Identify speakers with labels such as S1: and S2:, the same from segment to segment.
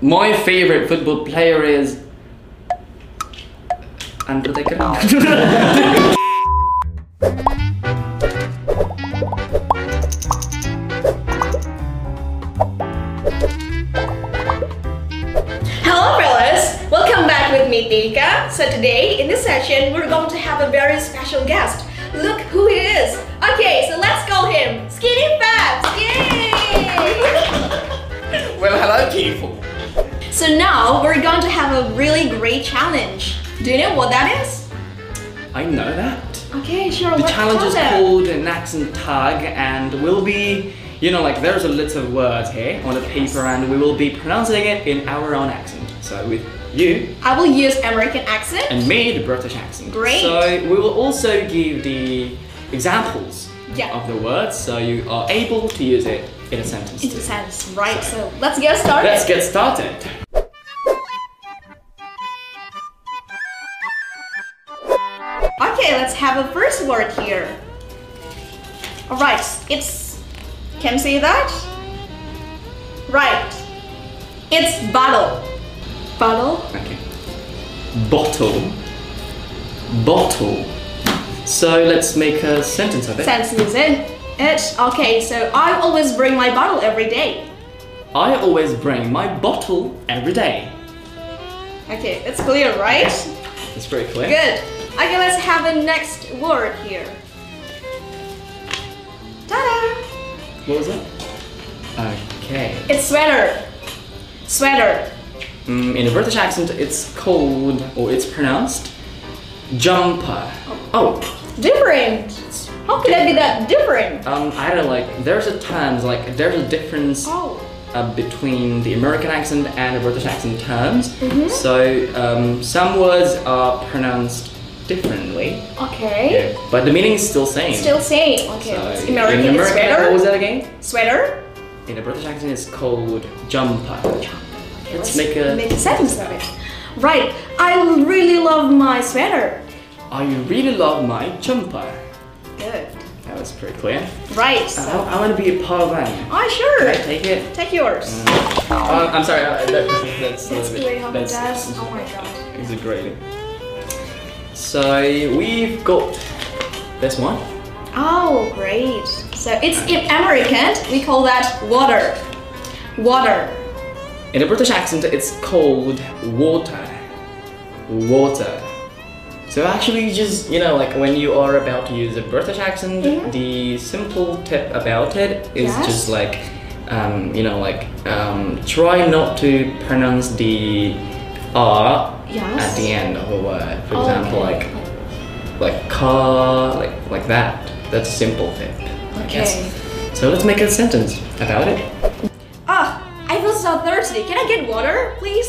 S1: My favorite football player is Andre the Great.
S2: Hello, fellas! Welcome back with me, Tika. So, today in this session, we're going to have a very special guest. Look who he is! Okay, so let's call him Skinny Babs! Yay!
S1: well, hello, people.
S2: so, now we're going to have a really great challenge. Do you know what that is?
S1: I know that.
S2: Okay, sure.
S1: The challenge is called an accent tag, and we'll be, you know, like there's a list of words here on the paper, and we will be pronouncing it in our own accent. So with you
S2: I will use American accent.
S1: and me, the British accent.
S2: Great.
S1: So we will also give the examples
S2: Yeah.
S1: of the words, so you are able to use it in a sentence.
S2: It
S1: too.
S2: sense, right? So, let's get started.
S1: Let's get started.
S2: Okay, let's have a first word here. All right, it's. Can you say that? Right. It's bottle. Bottle.
S1: Okay. Bottle. Bottle. So let's make a sentence of it.
S2: Sense is in it. Okay, so I always bring my bottle every day.
S1: I always bring my bottle every day.
S2: Okay, it's clear, right?
S1: That's pretty clear.
S2: Good. Okay, let's have a next word here. Ta-da!
S1: What was it? Okay.
S2: It's sweater. Sweater.
S1: Mm, in a British accent, it's called, or it's pronounced, jumper. Oh,
S2: Different. How could that be that different?
S1: um, I don't know, like, there's a times, like, there's a difference
S2: Oh.
S1: uh, between the American accent and the British accent terms.
S2: Mm-hmm.
S1: So um, some words are pronounced differently,
S2: Okay.
S1: but the meaning is still same.
S2: Still same. Okay.
S1: So,
S2: it's American,
S1: in
S2: it's
S1: American, what was
S2: sweater.
S1: that again?
S2: Sweater.
S1: In a British accent, it's called jumper. Let's make a.
S2: Make a sentence of it. Right. I really love my sweater.
S1: I really love my jumper.
S2: Good.
S1: That was pretty clear.
S2: Right.
S1: I,
S2: So.
S1: want to be a part of that. Can
S2: Ah,
S1: I
S2: sure.
S1: take it?
S2: Take yours. Oh.
S1: Uh, I'm sorry. Uh, that, that's a
S2: That's
S1: little bit.
S2: great how it
S1: that's-
S2: does. Oh my god.
S1: Is it great? So we've got this one.
S2: Oh, great. So it's in American. We call that water. Water.
S1: In a British accent, it's called water. Water. So actually, just you know, like when you are about to use a British accent,
S2: Yeah.
S1: the simple tip about it is
S2: Mm-hmm. Yes.
S1: just like, um, you know, like um, try not to pronounce the r
S2: Yes.
S1: at the end of a word. For
S2: Oh,
S1: example,
S2: okay.
S1: like like car, like like that. That's a simple tip. I guess.
S2: Okay.
S1: So let's make a sentence about it.
S2: Ah, I feel so thirsty. Can I get water, please?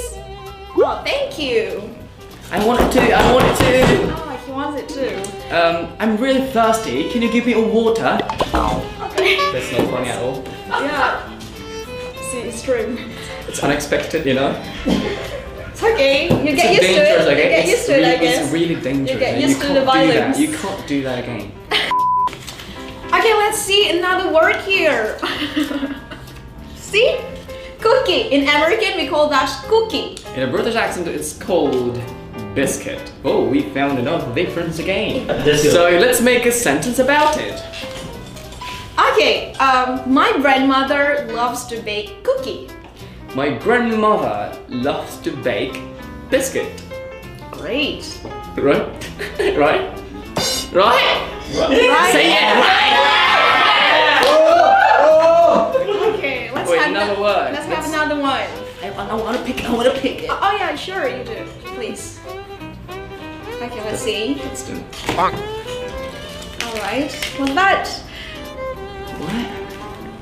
S2: Oh, thank you.
S1: I want it to. I want it to.
S2: Oh, he wants it too.
S1: Um, I'm really thirsty. Can you give me a water?
S2: Okay.
S1: That's not funny at all.
S2: yeah. See, it's true.
S1: It's unexpected, you know.
S2: It's okay. You
S1: it's
S2: get used to it.
S1: dangerous, okay?
S2: You get
S1: it's
S2: used to it,
S1: really,
S2: I guess.
S1: It's really dangerous.
S2: get
S1: and
S2: used to
S1: can't
S2: the
S1: do that.
S2: violence.
S1: You can't do that again.
S2: Okay, let's see another word here. see? Cookie. In American, we call that cookie.
S1: In a British accent, it's called biscuit. Oh, we found another difference again.
S3: Biscuit.
S1: So let's make a sentence about it.
S2: Okay, um, my grandmother loves to bake cookie.
S1: My grandmother loves to bake biscuit.
S2: Great.
S1: Right? right? Right?
S2: Right?
S1: Say it.
S2: Okay, let's
S1: Wait,
S2: have
S1: another
S2: ano-
S1: word.
S2: Let's
S1: Let's-
S2: have another one.
S1: I, I want to pick. I want to pick.
S2: Oh, oh yeah, sure you do. Please. Okay, let's see.
S1: Let's do. it.
S2: All right. What's that?
S1: What?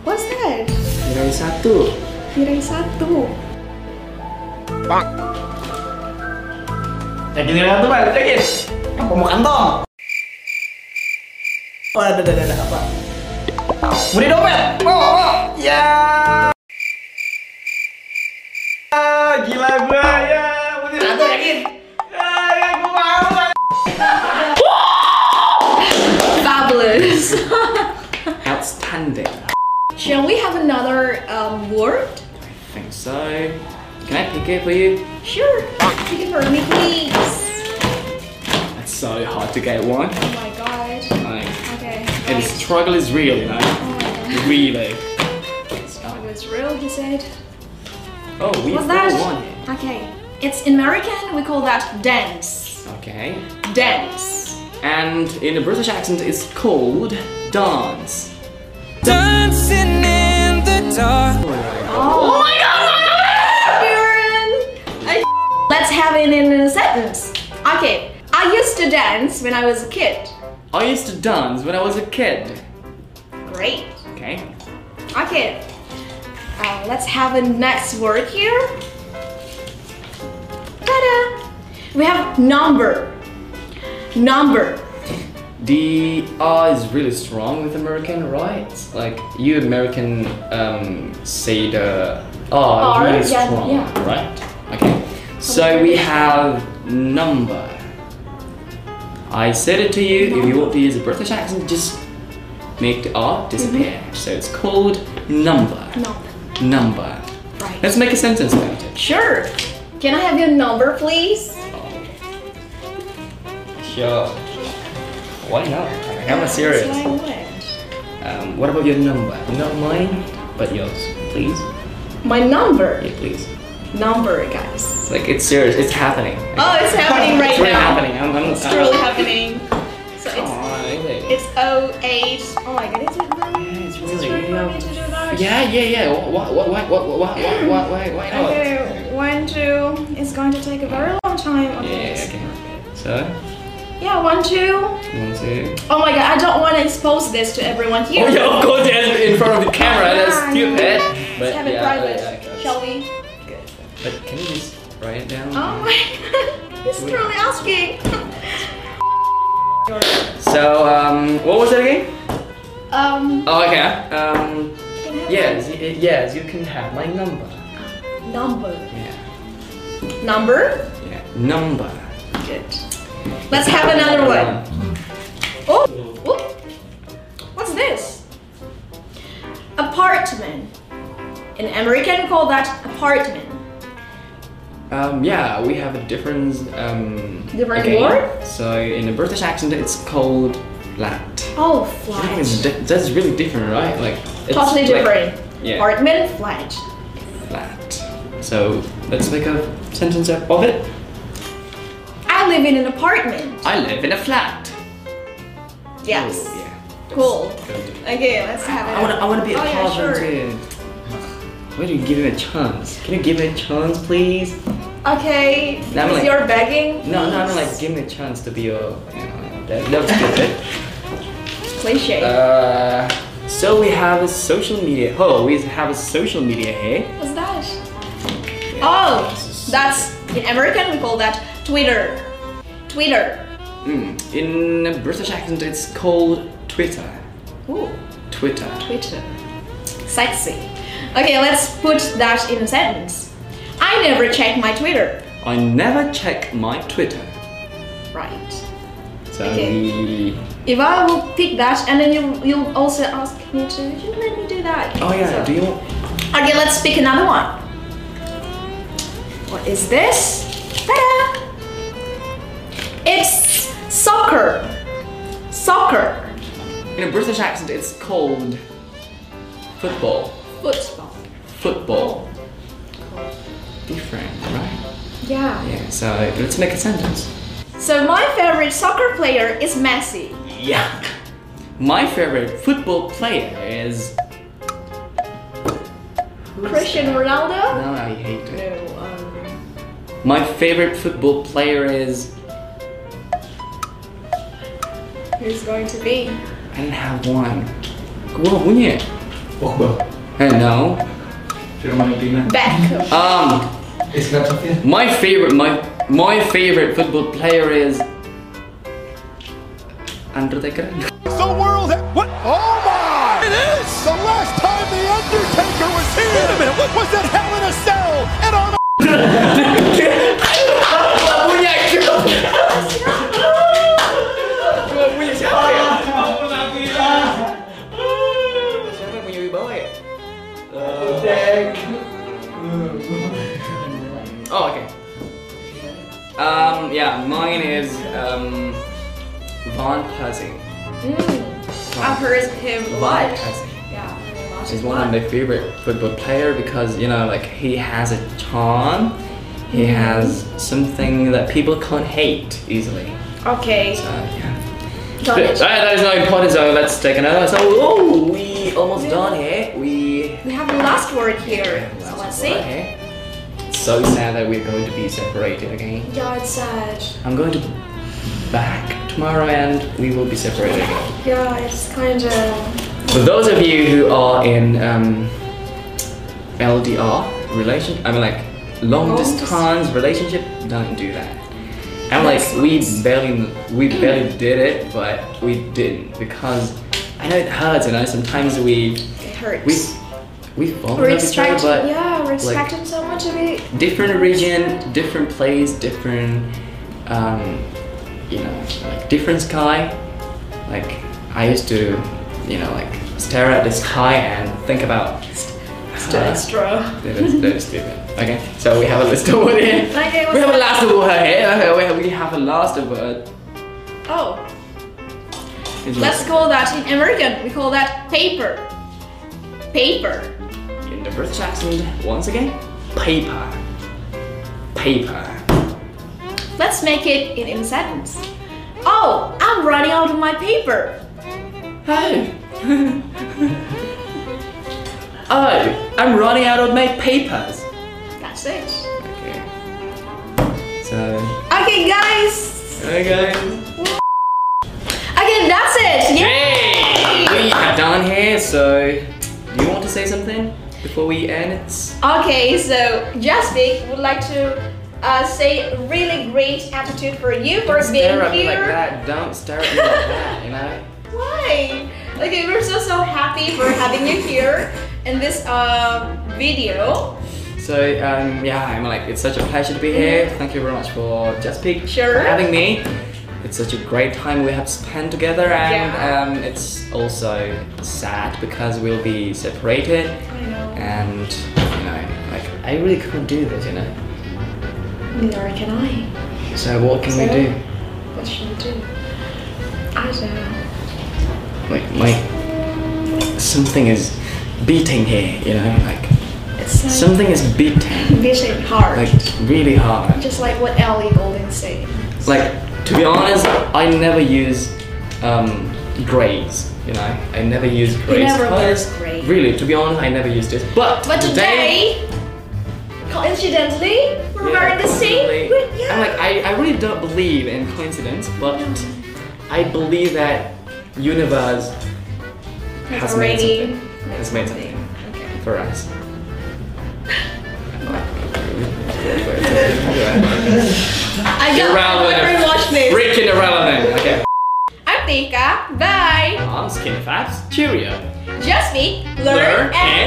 S2: What's that?
S1: Nilai satu.
S2: Tirai satu.
S3: Lagi nilai Eh, satu balik lagi. Apa mau kantong? Oh, ada, ada, ada, ada, apa? Beri dompet. Oh, oh, ya. Ah, gila gua ya. Beri satu lagi. Ah, ya, gua mau.
S2: Fabulous.
S1: Outstanding.
S2: Shall we have another um, word?
S1: I think so. Can I pick it for you?
S2: Sure. Pick it for me, please.
S1: It's so hard to get one.
S2: Oh my god.
S1: Like,
S2: Okay.
S1: and the
S2: right.
S1: struggle is real, you know?
S2: Oh my god.
S1: Really.
S2: Struggle is Oh, real, he said.
S1: Oh, we
S2: What's
S1: got
S2: that?
S1: one. here.
S2: Okay. It's in American, we call that dance.
S1: Okay.
S2: Dance.
S1: And in a British accent, it's called dance.
S4: Dancing in the dark.
S2: Oh, my god, my god! Kieran! Let's have it in a sentence. Okay. I used to dance when I was a kid.
S1: I used to dance when I was a kid.
S2: Great.
S1: Okay.
S2: Okay. Uh, let's have a next word here. Ta-da! We have number. Number.
S1: The R is really strong with American, right? Like you American um, say the R,
S2: R,
S1: really
S2: yeah,
S1: strong,
S2: yeah.
S1: right? Okay. So we have number. I said it to you. If you want to use a British accent, just make the R disappear.
S2: Mm-hmm.
S1: So it's called number.
S2: Number.
S1: Number.
S2: Right.
S1: Let's make a sentence about it.
S2: Sure. Can I have your number, please?
S1: Sure. Why not? I'm
S2: Yes,
S1: serious.
S2: why not?
S1: Um, what about your number? Not mine, but yours, please.
S2: My number.
S1: Yeah, please.
S2: Number, guys.
S1: It's like it's serious. It's happening.
S2: Oh, it's happening right
S1: it's really
S2: now.
S1: happening. I'm, I'm,
S2: It's truly happening. So it's
S1: happening.
S2: it's 08. Oh my god, is it really?
S1: It's
S2: Is
S1: really.
S2: it really to do that?
S1: Yeah, yeah, yeah. What, what, what, what, what,
S2: Mm.
S1: what, what, why, why not?
S2: Okay, one, two. It's going to take a very long time.
S1: Yeah,
S2: Okay.
S1: yeah, okay. So,
S2: Yeah, one, two.
S1: one, two.
S2: Oh my god, I don't want to expose this to everyone here.
S1: Oh yeah, of course, yes, in front of the camera. That's stupid. But
S2: Let's have it
S1: yeah,
S2: private,
S1: yeah, yeah.
S2: shall we?
S1: But can you just write it down?
S2: Oh my god, he's truly asking.
S1: So, um, what was it again?
S2: um,
S1: Oh, okay. Um,
S2: can I have
S1: yes, y- yes, you can have my number.
S2: my Number.
S1: Yeah,
S2: Number?
S1: yeah. Number.
S2: Good. Let's have another one. Oh, whoop. what's this? Apartment. In American, we call that apartment.
S1: Um, yeah, we have a different um,
S2: Different
S1: again.
S2: word?
S1: So in a British accent, it's called flat.
S2: Oh,
S1: That
S2: flat.
S1: is di- that's really different, right? Like it's
S2: Totally
S1: like
S2: different.
S1: yeah.
S2: Apartment, flat.
S1: flat. So let's make a sentence of of it.
S2: I live in an apartment.
S1: I live in a flat. Oh,
S2: Yes.
S1: yeah. That's
S2: Cool.
S1: gonna do it.
S2: Okay, let's have it.
S1: I wanna, I wanna be a
S2: Oh, yeah,
S1: partner
S2: sure.
S1: too. Why do you give him a chance? Can you give him a chance, please? No,
S2: Okay,
S1: I'm
S2: because
S1: like-
S2: you're begging.
S1: No, no, I
S2: please.
S1: mean like give him a chance to be your. You know, that, that was stupid.
S2: Cliche.
S1: Uh, so we have a social media. Oh, we have a social media here.
S2: What's that? Oh,
S1: is-
S2: that's in American we call that Twitter. Twitter.
S1: Mm, In a British accent, it's called Twitter.
S2: Ooh,
S1: Twitter.
S2: Twitter. Sexy. Okay, let's put that in a sentence. I never check my Twitter.
S1: I never check my Twitter.
S2: Right.
S1: So
S2: Okay.
S1: we-
S2: If I will pick that, and then you you'll also ask me to you let me do that.
S1: Oh yeah.
S2: So-
S1: Do you? want-
S2: Okay, let's pick another one. What is this? Ta-da! It's soccer. Soccer.
S1: In a British accent, it's called football.
S2: Football.
S1: Football. Different, right?
S2: Yeah.
S1: Yeah. So let's make a sentence.
S2: So my favorite soccer player is Messi.
S1: Yuck. My favorite football player is. Who's
S2: Christian
S1: that?
S2: Ronaldo.
S1: No, I hate it.
S2: No, um,
S1: My favorite football player is.
S2: who's going to be?
S1: I didn't have one. Whoa, punya.
S3: Pogba,
S1: Hey, no.
S3: Fiorentina,
S2: Beckham.
S1: Um,
S3: is that something?
S1: my favorite, my my favorite football player is. Undertaker.
S5: The world. What? Oh my! It is! The last time The Undertaker was here! Wait a minute, what was that Hell in a Cell? And on
S1: punya. siapa ya? Siapa yang punya wibawa ya? Oh, Um, yeah, mine is um, Von Persing.
S2: Hmm. I've heard him a lot.
S1: Van Persing.
S2: Yeah, I've heard
S1: He's
S2: him
S1: one
S2: a
S1: of
S2: lot.
S1: my favorite football player because you know, like he has a charm. He has something that people can't hate easily.
S2: Okay,
S1: Uh, yeah.
S2: got
S1: But,
S2: it.
S1: uh, that is not important. So let's take another. So oh, we almost done here. We
S2: We have the last word here. So let's see.
S1: Okay. It's so sad that we're going to be separated again.
S2: Yeah, it's sad.
S1: I'm going to back tomorrow and we will be separated again.
S2: Yeah, it's kind of.
S1: For those of you who are in um, LDR relation, I mean like long,
S2: Long
S1: distance relationship, don't do that. And like we barely we barely did it, but we didn't because I know it hurts. And I sometimes we
S2: It hurts.
S1: we we fall in love
S2: we're
S1: with each other,
S2: expecting,
S1: but
S2: yeah, we're
S1: like- Uh,
S2: expecting someone to be.
S1: different region, different place, different, um, you know, like different sky. Like I used to, you know, like stare at the sky and think about. Uh,
S2: Extra.
S1: that is, that is stupid. Okay, so we have a list of word here.
S2: Okay,
S1: we
S2: what's
S1: have a last
S2: that?
S1: word here. Okay, we have, we have a last word.
S2: Oh,
S1: It's
S2: let's call that in American. We call that paper. Paper.
S1: in the British accent once again. Paper. Paper.
S2: Let's make it in a sentence. Oh, I'm running out of my paper.
S1: Oh. oh, I'm running out of my papers.
S2: That's it.
S1: Okay. So.
S2: Okay, guys.
S1: Hey guys.
S2: Okay, that's it. Yay!
S1: We are done here, so. Do you want to say something before we end? It's-
S2: Okay, so Jasmine would like to uh, say really great attitude for you for being
S1: Stare at me
S2: here.
S1: like that. Don't stare at me like that, you know?
S2: Why? Okay, we're so so happy for having you here in this uh, video.
S1: So, um, yeah, I'm like, it's such a pleasure to be here. Thank you very much for Just Pick
S2: Sure.
S1: for having me. It's such a great time we have spent together, and
S2: Yeah.
S1: um, it's also sad because we'll be separated.
S2: I know.
S1: And you know, like, I really couldn't do this, you know.
S2: Neither can I.
S1: So what can we
S2: So-
S1: do?
S2: What should we do? I don't know.
S1: Like, my something is beating here, you know, like
S2: It's like
S1: something is beating,
S2: vision hard.
S1: like really hard.
S2: Just like what Ellie Golding said.
S1: like to be honest i never use um, grades you know i never use grades
S2: never
S1: because-
S2: use grades.
S1: really to be honest i never used this but,
S2: But today, coincidentally, we're
S1: Yeah,
S2: wearing the same.
S1: definitely.
S2: we- Yeah.
S1: i'm like I, I really don't believe in coincidence but
S2: Mm.
S1: i believe that universe has made
S2: already
S1: something has made something
S2: Okay.
S1: for us
S2: I got
S1: Irrelevant.
S2: everyone watch this.
S1: freaking irrelevant okay
S2: I'm Tika. Bye.
S1: i'm skin facts cheerio
S2: Just me. Learn,
S1: Learn
S2: and